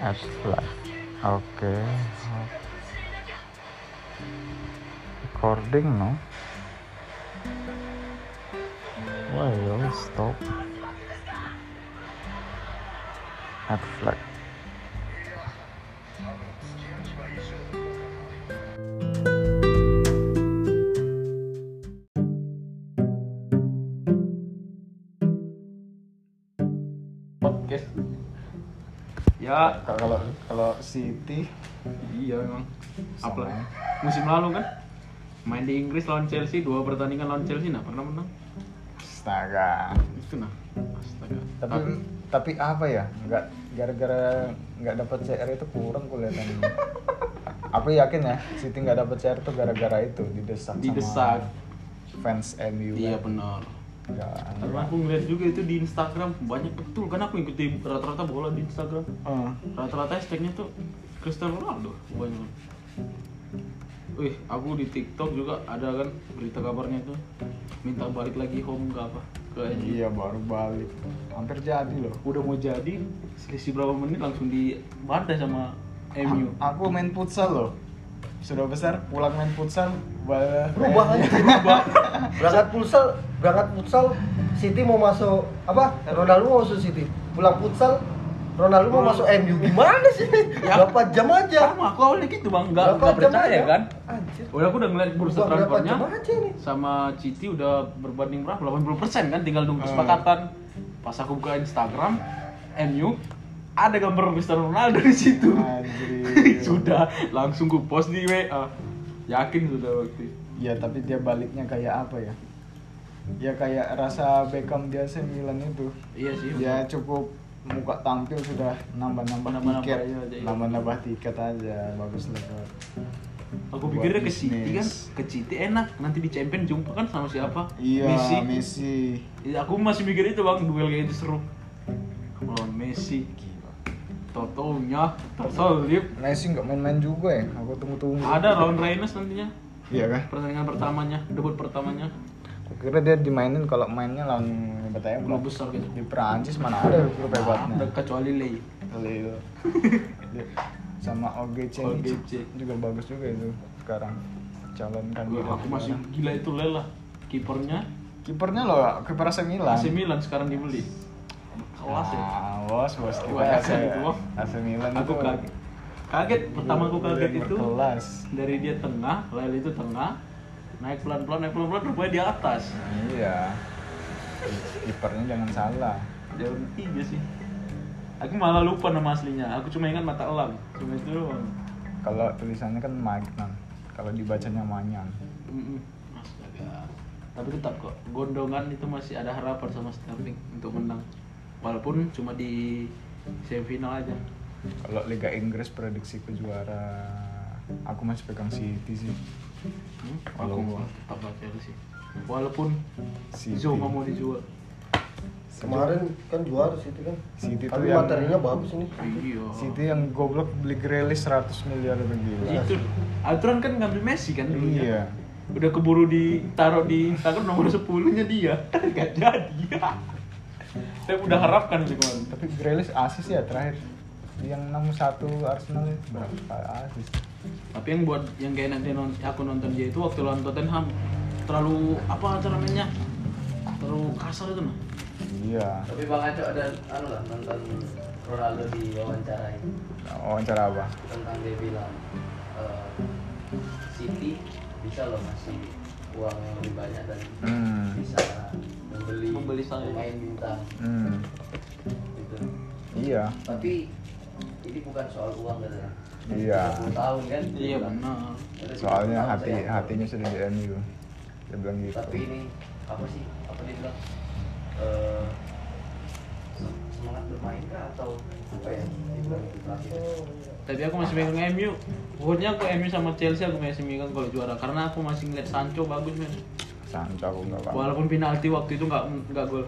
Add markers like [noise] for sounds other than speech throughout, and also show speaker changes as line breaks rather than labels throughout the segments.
setelah oke recording no why you stop at flag
podcast ya
kalau kalau City
iya memang
Sama.
apa musim lalu kan main di Inggris lawan Chelsea dua pertandingan lawan Chelsea nah pernah menang
astaga
itu nah astaga
tapi tapi apa ya nggak gara-gara nggak dapat CR itu kurang kelihatannya aku yakin ya City nggak dapat CR tuh gara-gara itu didesak
Didesak.
sama fans MU
iya
kan.
benar
Nggak,
Karena
nggak.
aku ngeliat juga itu di Instagram banyak betul kan aku ikuti rata-rata bola di Instagram
Eh,
rata-rata hashtagnya tuh Cristiano Ronaldo banyak Wih, aku di TikTok juga ada kan berita kabarnya itu minta balik lagi home gak apa ke MU.
iya baru balik hampir jadi loh
udah mau jadi selisih berapa menit langsung dibantai sama MU
A- aku main futsal loh sudah besar pulang main futsal
berubah
berubah
aja berubah berangkat futsal berangkat futsal City mau masuk apa Ronaldo mau masuk City pulang futsal Ronaldo mau masuk MU gimana sih
Ya.
berapa jam aja
sama aku awalnya gitu bang nggak
Berapa
nggak
jam
percaya
aja?
kan
Anjir.
udah aku udah ngeliat bursa
Berubah berapa
transfernya
jam aja nih
sama Citi udah berbanding berapa 80 kan tinggal nunggu kesepakatan pas aku buka Instagram MU ada gambar Cristiano Ronaldo di situ [laughs] sudah langsung ku post di WA yakin sudah waktu itu.
Ya tapi dia baliknya kayak apa ya? Ya kayak rasa Beckham dia AC Milan itu.
iya sih
Ya cukup muka tampil sudah nambah-nambah
Nambah-nambah
tiket,
aja, aja, iya.
nambah-nambah tiket aja, bagus lah. Kak.
aku
buat
pikirnya ke City kan
bisnis.
ke City enak nanti di Champion jumpa kan sama siapa
Iya, Messi.
Messi Iya, aku masih mikir itu bang duel kayak itu seru. Melawan Messi,
Gila.
Totonya terselip.
Messi nggak main-main juga ya, aku tunggu-tunggu.
Ada Ron Reynolds nantinya
Iya kan?
pertandingan pertamanya, debut pertamanya.
Aku Kira dia dimainin kalau mainnya lawan Bataya
Klub besar gitu.
Di Perancis mana ada klub
Ada
hebatnya?
kecuali Lei.
Lille. sama OGC, ini
OGC.
juga bagus juga itu sekarang calon
Wah,
kandidat
Aku masih
juara.
gila itu Lei lah. Kipernya
kipernya loh kiper AC Milan
AC Milan sekarang dibeli. Kelas ya.
ah bos bos kiper
Wah,
AC
itu, bos.
AC Milan
Aku
tuh.
kaget. Kaget pertama aku
Gila,
kaget itu
berkelas
dari dia tengah, Lei itu tengah. Naik pelan-pelan, naik pelan-pelan, rupanya di atas.
iya kipernya jangan salah
Jauh tiga sih. Aku malah lupa nama aslinya. Aku cuma ingat mata elang. Cuma itu doang.
kalau tulisannya kan Magnan kalau dibacanya Manyan
Mm-mm. Astaga. Tapi tetap kok. Gondongan itu masih ada harapan sama Sterling untuk menang. Walaupun cuma di semifinal aja.
kalau Liga Inggris prediksi juara aku masih pegang City sih
Hmm? Aku
Walaupun-
tetap bakal sih. Walaupun
City.
Zuma mau dijual.
kemarin kan juara City kan
City tuh
tapi
yang-
materinya bagus ini
Iya.
Oh.
City yang goblok beli Grealish 100 miliar itu
Iya.
gila
Itu aturan kan ngambil Messi kan dulunya.
iya
Udah keburu ditaruh di Instagram nomor 10-nya dia. [laughs] Gak jadi. Saya udah harapkan itu kemarin.
tapi Grealish asis ya terakhir yang 61 Arsenal itu berapa asis
tapi yang buat yang kayak nanti non- aku nonton dia itu waktu lawan Tottenham terlalu apa cara mainnya terlalu kasar itu nah
iya
Tapi Bang Acok ada anu lah nonton Ronaldo di wawancarai
wawancara apa
tentang dia bilang eh, City bisa loh ngasih uang yang lebih banyak dan
hmm.
bisa membeli,
Membeli saya.
pemain bintang
hmm.
gitu.
iya
Tapi ini bukan soal uang katanya.
Iya.
30 tahun kan? dia
iya
bilang.
benar
Katanya 30
soalnya
tahun
hati
saya-
hatinya sudah di MU dia bilang gitu
Tapi ini apa sih? Apa dia bilang? Eh, sem- semangat bermain kah atau apa ya? Dia bilang gitu terakhir.
tapi aku masih megang MU pokoknya aku MU sama Chelsea aku masih megang kalau juara karena aku masih ngeliat Sancho bagus men
Sancho aku nggak paham
walaupun penalti waktu itu nggak nggak gol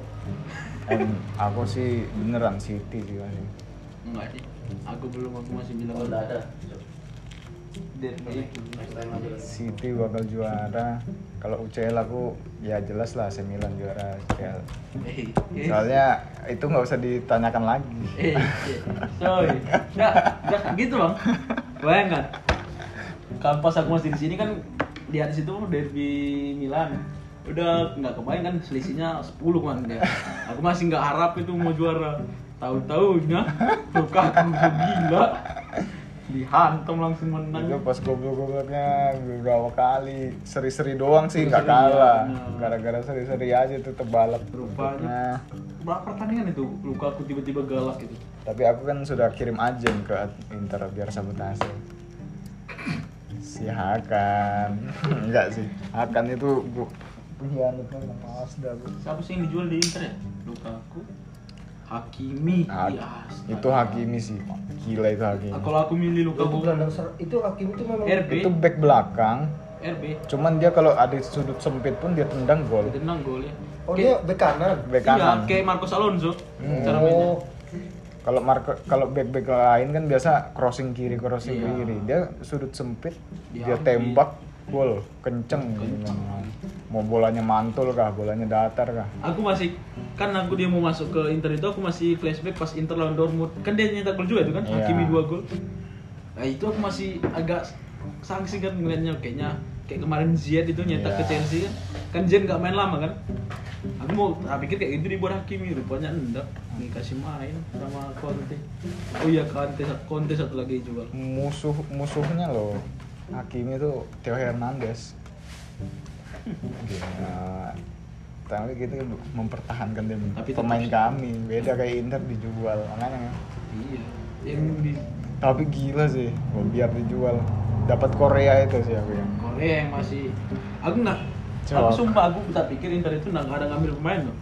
Em, aku sih beneran City sih masih
nggak sih aku belum aku masih bilang
Kalau Oh, nggak ada, Cok.
Derby.
next time aja.
City bakal juara kalau UCL aku ya jelas lah AC Milan juara UCL
Eh, eh.
soalnya itu nggak usah ditanyakan lagi
Eh, eh. sorry. Nggak, Udah gitu bang. Bayangkan. Kan pas aku masih di sini kan di atas itu derby Milan. Udah nggak kebayang kan selisihnya 10 kan dia. Aku masih nggak harap itu mau juara. Tahu-tahunya Lukaku gila. Dihantam langsung
Itu
menang.
pas goblok-gobloknya beberapa kali seri-seri doang sih nggak
Seri-seri,
kalah
iya, bener.
gara-gara seri-seri aja tuh tebalak Nah,
Rupanya. Berapa pertandingan itu Lukaku tiba-tiba galak gitu.
tapi aku kan sudah kirim ajen ke Inter biar sabotase si Hakan [laughs] enggak sih Hakan itu Iya, bu pengkhianatnya sama Asda Bu.
Siapa sih yang dijual di Inter ya? Lukaku. Hakimi.
Nah,
Ya, astaga. Nah,
itu Hakimi sih gila itu Hakimi
Kalau aku milih
Itu
Lukaku
gelandang ser- itu hakim itu memang
RB,
itu back belakang
RB
cuman dia kalau ada sudut sempit pun dia tendang gol
tenang golnya.
Oh dia bek kanan.
back
Iya,
kanan
kayak Marcos Alonso
Hmm.
cara mainnya.
Oh,
Kalau mark kalau back back lain kan biasa crossing kiri crossing
Iya.
kiri dia sudut sempit
Dia
dia,
ambil.
tembak gol kenceng,
Kenceng.
mau bolanya mantul kah bolanya datar kah
Aku masih kan aku dia mau masuk ke Inter itu aku masih flashback pas Inter lawan Dortmund. Kan dia nyetak gol juga itu kan,
Iya.
Hakimi 2 gol. Nah, itu aku masih agak sanksi kan ngeliatnya kayaknya kayak kemarin Ziyad itu nyetak
Iya.
ke Chelsea kan. Kan Ziyad nggak main lama kan. Aku mau aku pikir kayak gitu dibuat Hakimi, rupanya enggak dikasih main sama Conte. Oh iya Conte, Conte satu lagi jual.
musuh musuhnya loh Hakimi itu Theo Hernandez Gila. tapi kita mempertahankan tim
Tapi tetap
pemain
sih.
kami beda kayak Inter dijual makanya
Iya. Yang di
tapi gila sih oh, biar dijual dapat Korea itu sih aku yang
Korea yang masih aku nggak aku
Coba.
sumpah aku tak pikir Inter itu nggak ada ngambil pemain loh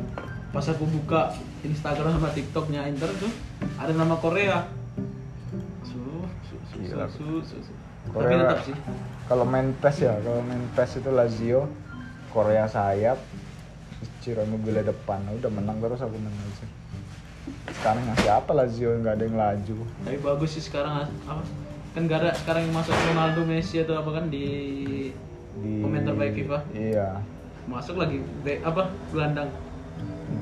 pas aku buka Instagram sama TikToknya Inter tuh ada nama Korea su su su su,
Gila.
su, su, su. tapi
Korea.
tetap sih
Kalau main PES ya, kalau main PES itu Lazio, Korea sayap, Ciro Immobile depan, udah menang terus aku menang aja. Sekarang ngasih apa Lazio nggak ada yang laju.
tapi bagus sih sekarang ah, apa kan gak ada sekarang yang masuk Ronaldo Messi atau apa kan di,
Di-
pemain terbaik FIFA
Iya,
masuk lagi be, apa gelandang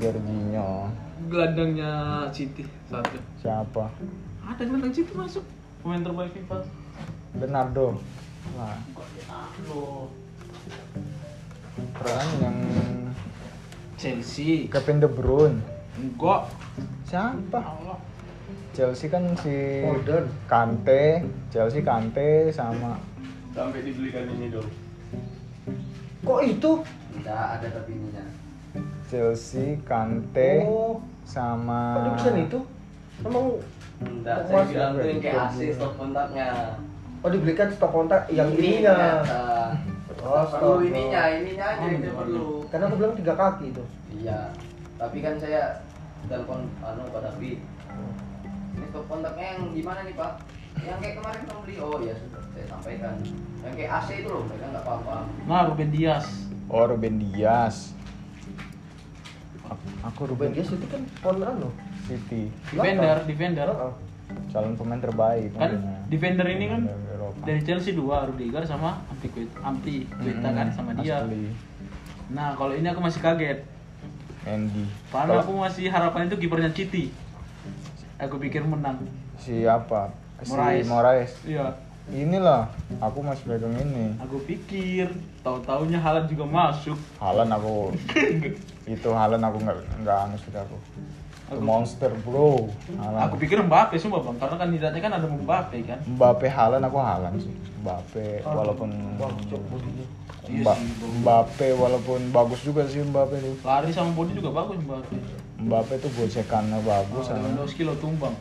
Jorginho.
gelandangnya City satu
Siapa?
ada gelandang City masuk pemain terbaik FIFA
Bernardo. Wah,
Loh.
peran yang
Chelsea
Kevin De Bruyne.
enggak
Siapa?
Allah
Chelsea kan si
Foden.
Kante, Chelsea Kante sama
sampai dibelikan ini dong
kok itu?
tidak ada tapi ininya
Chelsea Kante
Oh,
sama
production itu emang
tidak
Kok
saya
masih
bilang tuh
ada
yang kayak
yang
AC
kayak
stok kontaknya
oh dibelikan stok kontak yang
ini
ininya. Oh,
oh
stop.
perlu ininya ininya aja yang dia perlu
Karena aku bilang tiga kaki itu.
iya tapi kan saya telepon anu Pak David ini stok kontaknya yang gimana nih Pak yang kayak kemarin kamu beli oh ya sudah saya sampaikan yang kayak AC itu loh mereka nggak paham paham
Nah, Ruben Dias.
Oh Ruben Dias. Aku
Ruben
Ruben
Dias itu kan Ponran loh.
City,
Defender, defender.
Heeh.
calon pemain terbaik.
Kan
katanya.
defender ini kan
Dari Eropa.
dari Chelsea dua, Rudiger sama Ampi Kuit- Ampi Kuita kan sama
Mm-mm,
dia.
Hmm, asli.
Nah, kalau ini aku masih kaget.
Mendy.
Karena aku
Kalau
masih harapan itu kipernya City. Aku pikir menang.
Siapa? Si
Moraes.
Moraes.
Iya,
Inilah, aku masih pegang ini.
aku pikir tahu-taunya Haaland juga masuk.
Halan
[laughs]
aku itu Halan aku nggak nggak anu sudah aku. Itu
Aku-
monster bro. Halan.
Aku pikir Mbappe sumpah Bang, karena kan kandidatnya kan ada Mbappe kan.
Mbappe Halan aku Halan sih. Mbappe Eh, walaupun
Wah, cok bodinya.
Iya
Mba-
sih, bro.
Mbappe walaupun bagus juga sih Mbappe tuh.
Lari sama body juga bagus Mbappe.
Mbappe tuh gocekannya bagus
Ah,
sama.
Lewandowski lo tumbang.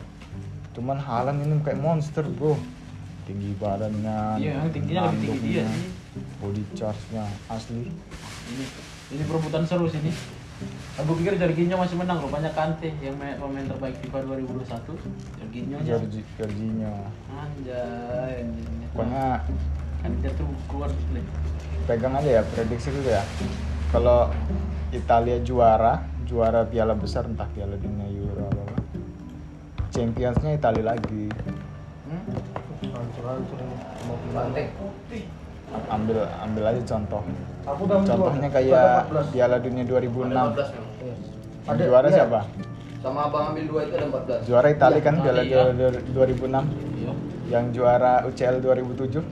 Cuman Haaland ini kayak monster, Bro. Tinggi badannya.
Iya, yang tingginya lebih tinggi dia
tanduknya,
sih.
Body charge-nya asli.
ini ini perebutan seru sih ini aku pikir Jorginho masih menang rupanya Kante yang main- pemain terbaik FIFA 2021 Jorginho nya
Jorgi- Jorginho.
anjay anjingnya.
Pokoknya
kan dia tuh keluar display
pegang aja ya prediksi dulu ya. Kalau Italia juara, juara piala besar entah piala dunia Euro apa. apa. Champions-nya Italia lagi. Hmm?
Hancur-hancur ini. Mau gimana?
bantek
Ambil ambil aja contoh.
Aku udah
Contohnya kayak Piala Dunia 2006.
ada 14 memang
Ada,
Juara
iya.
siapa?
sama abang ambil dua itu ada 14
Juara Italia kan
Iya,
Piala
Italia.
Dunia 2006.
iya
yang juara UCL 2007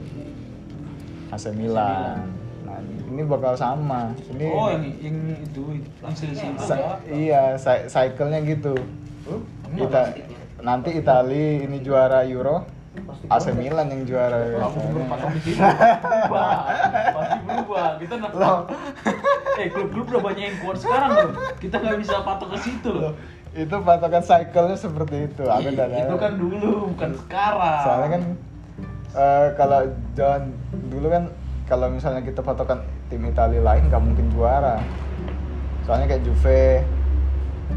AC Milan. Nah, ini bakal sama. Ini
Oh, yang yang itu yang selisih itu
Sa-
ya.
iya, cy- cycle-nya gitu. Kita nanti Itali ini juara Euro, AC Milan yang juara.
Aku
Nah,
berubah, aku
[laughs]
bikin berubah, pasti berubah. Kita nak eh klub-klub udah banyak yang kuat sekarang loh. Kita nggak bisa patok ke situ loh.
Itu patokan cycle-nya seperti itu. Aku
Ih,
nggak tahu.
itu kan dulu, bukan sekarang.
Soalnya kan eh, kalau jangan dulu kan kalau misalnya kita patokan tim Italia lain nggak mungkin juara. Soalnya kayak Juve,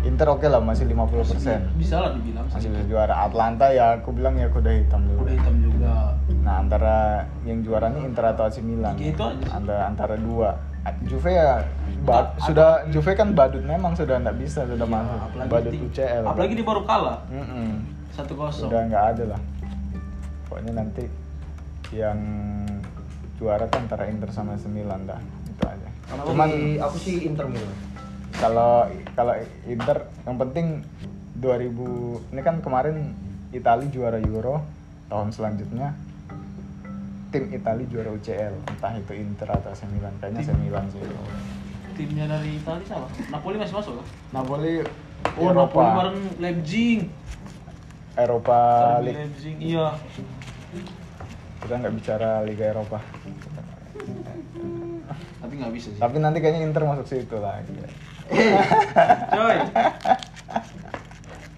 Inter oke lah masih 50 persen.
bisa lah dibilang
Masih
sih.
bisa juara. Atlanta ya aku bilang ya kuda hitam dulu.
Udah hitam juga.
Nah antara yang juara nih Inter atau AC Milan.
Iya, itu aja sih.
Antara antara dua. Juve ya ba-
Atau-
sudah Juve kan badut memang sudah nggak bisa sudah masuk
Iya, apalagi
badut
di-
UCL.
Apalagi dia baru kalah
Mm-mm.
satu kosong.
udah nggak ada lah pokoknya nanti yang juara kan antara Inter sama AC Milan dah itu aja
Aku
cuman
sih- aku sih Inter Milan.
kalau kalau Inter yang penting 2000 ini kan kemarin Itali juara Euro tahun selanjutnya tim Itali juara UCL entah itu Inter atau AC Milan kayaknya AC Milan sih
Timnya dari Italia siapa? Napoli masih masuk loh.
Napoli Iya,
Oh,
Eropa
Napoli bareng Leipzig.
Eropa
Bareng
League
Leipzig. Iya.
kita nggak bicara Liga Eropa
Tapi nggak bisa sih.
tapi nanti kayaknya Inter masuk situ lah
[laughs]
iya.
Coy.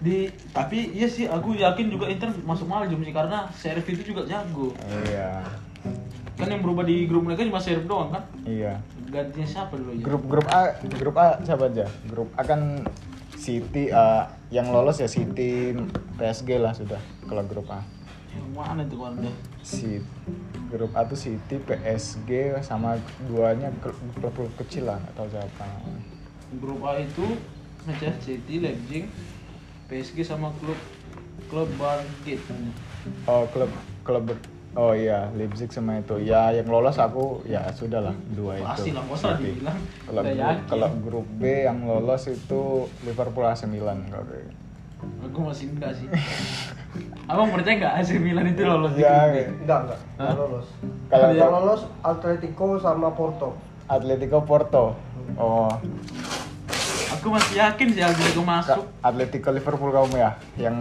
Di tapi iya sih aku yakin juga Inter masuk Maljum sih karena Serif itu juga jago.
Iya,
Kan yang berubah di grup mereka cuma Serif doang kan?
iya.
Gantinya siapa dulu ya?
Grup grup A, grup A siapa aja? Grup A kan City, eh, yang lolos ya City, PSG lah sudah. Kalau grup A,
Yang mana tuh kan udah?
si grup A tuh City, PSG sama duanya klub klub kecil lah atau siapa?
Grup A itu Manchester City, Leipzig, PSG sama klub klub Bargate.
Oh klub klub ber- Oh iya, Leipzig sama itu. Ya yang lolos aku ya sudah lah dua itu.
Pasti lah, masa
City.
dibilang
Kalau
udah
grup,
yakin.
kalau grup B yang lolos itu Liverpool AC Milan kalau kayak-
Aku masih enggak
[laughs]
sih. Abang percaya nggak AC Milan itu lolos di
Ya,
grup B?
Enggak, enggak. Enggak
Hah?
lolos.
Kalau-
yang lolos Atletico sama Porto.
Atletico Porto. Oh,
Aku masih yakin sih Atletico
Ka-
masuk.
Atletico Liverpool kamu ya? Yang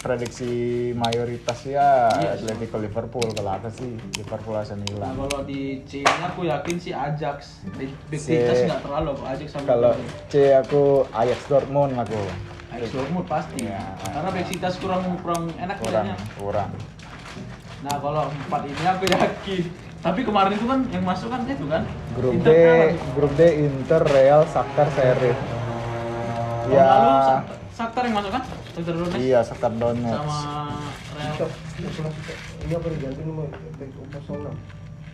prediksi mayoritas ya
Iya,
Atletico Liverpool kalau aku sih Liverpool AC
Nah,
Milan.
kalau di C-nya aku yakin sih Ajax. Di Big
Si-
Titas nggak terlalu aku Ajax sama
Kalau
Liverpool.
C aku Ajax Dortmund aku.
Ajax Dortmund pasti.
Iya.
Karena Big Titas kurang kurang enak
Kurang,
kayaknya.
kurang.
Nah, kalau empat ini aku yakin. Tapi kemarin itu kan yang masuk kan itu kan.
Grup D,
Inter kalah Oh. tuh.
grup D Inter, Real, Shakhtar, Sheriff.
Tahun
Ya,
lalu Sak- Shakhtar yang masuk kan? Shakhtar Donetsk
iya Shakhtar
sama
Donetsk.
Real.
Ini apa diganti nomor back opus 06.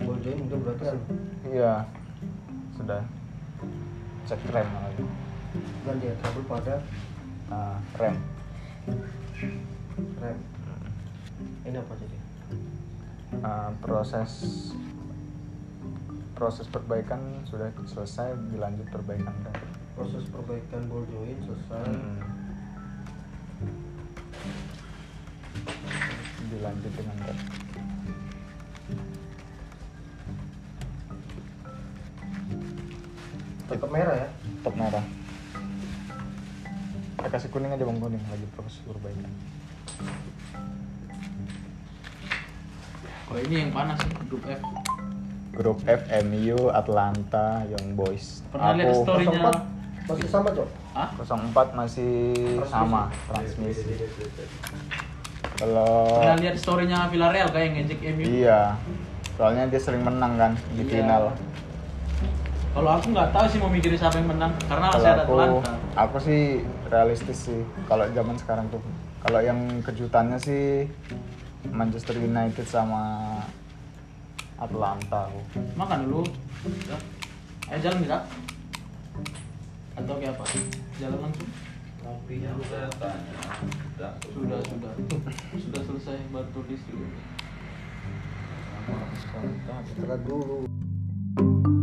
Gol join udah berarti kan.
Iya. Sudah. Cek rem lagi.
Ganti ya trouble pada
Nah, rem.
rem. Ini apa jadi?
Uh, proses proses perbaikan sudah selesai dilanjut perbaikan kan
Proses perbaikan ball join selesai.
Hmm. dilanjut dengan rem.
Tetap merah ya.
tetap merah kita kasih kuning aja bang kuning lagi proses perbaikan
Kalau Oh, ini yang panas sih, grup F.
grup F MU Atlanta Young Boys
Pernah lihat story? Sorenya-
04 masih sama, Cok.
Hah?
04 masih sama transmisi kalau
Pernah lihat story-nya Villarreal kayak ngejek MU.
iya soalnya dia sering menang kan di
Iya.
final
Kalau aku nggak tahu sih mau mikirin siapa yang menang karena masih
kalau
ada
aku
Atlanta.
aku sih realistis sih kalau zaman sekarang tuh kalau yang kejutannya sih Manchester United sama Atlanta aku
Makan dulu. Ya. Eh jalan nggak? Atau kayak apa? Jalan langsung.
Kopinya udah tanya. Udah.
Sudah sudah. sudah selesai bantu listrik.
Sekarang
Setelah dulu.
Oke,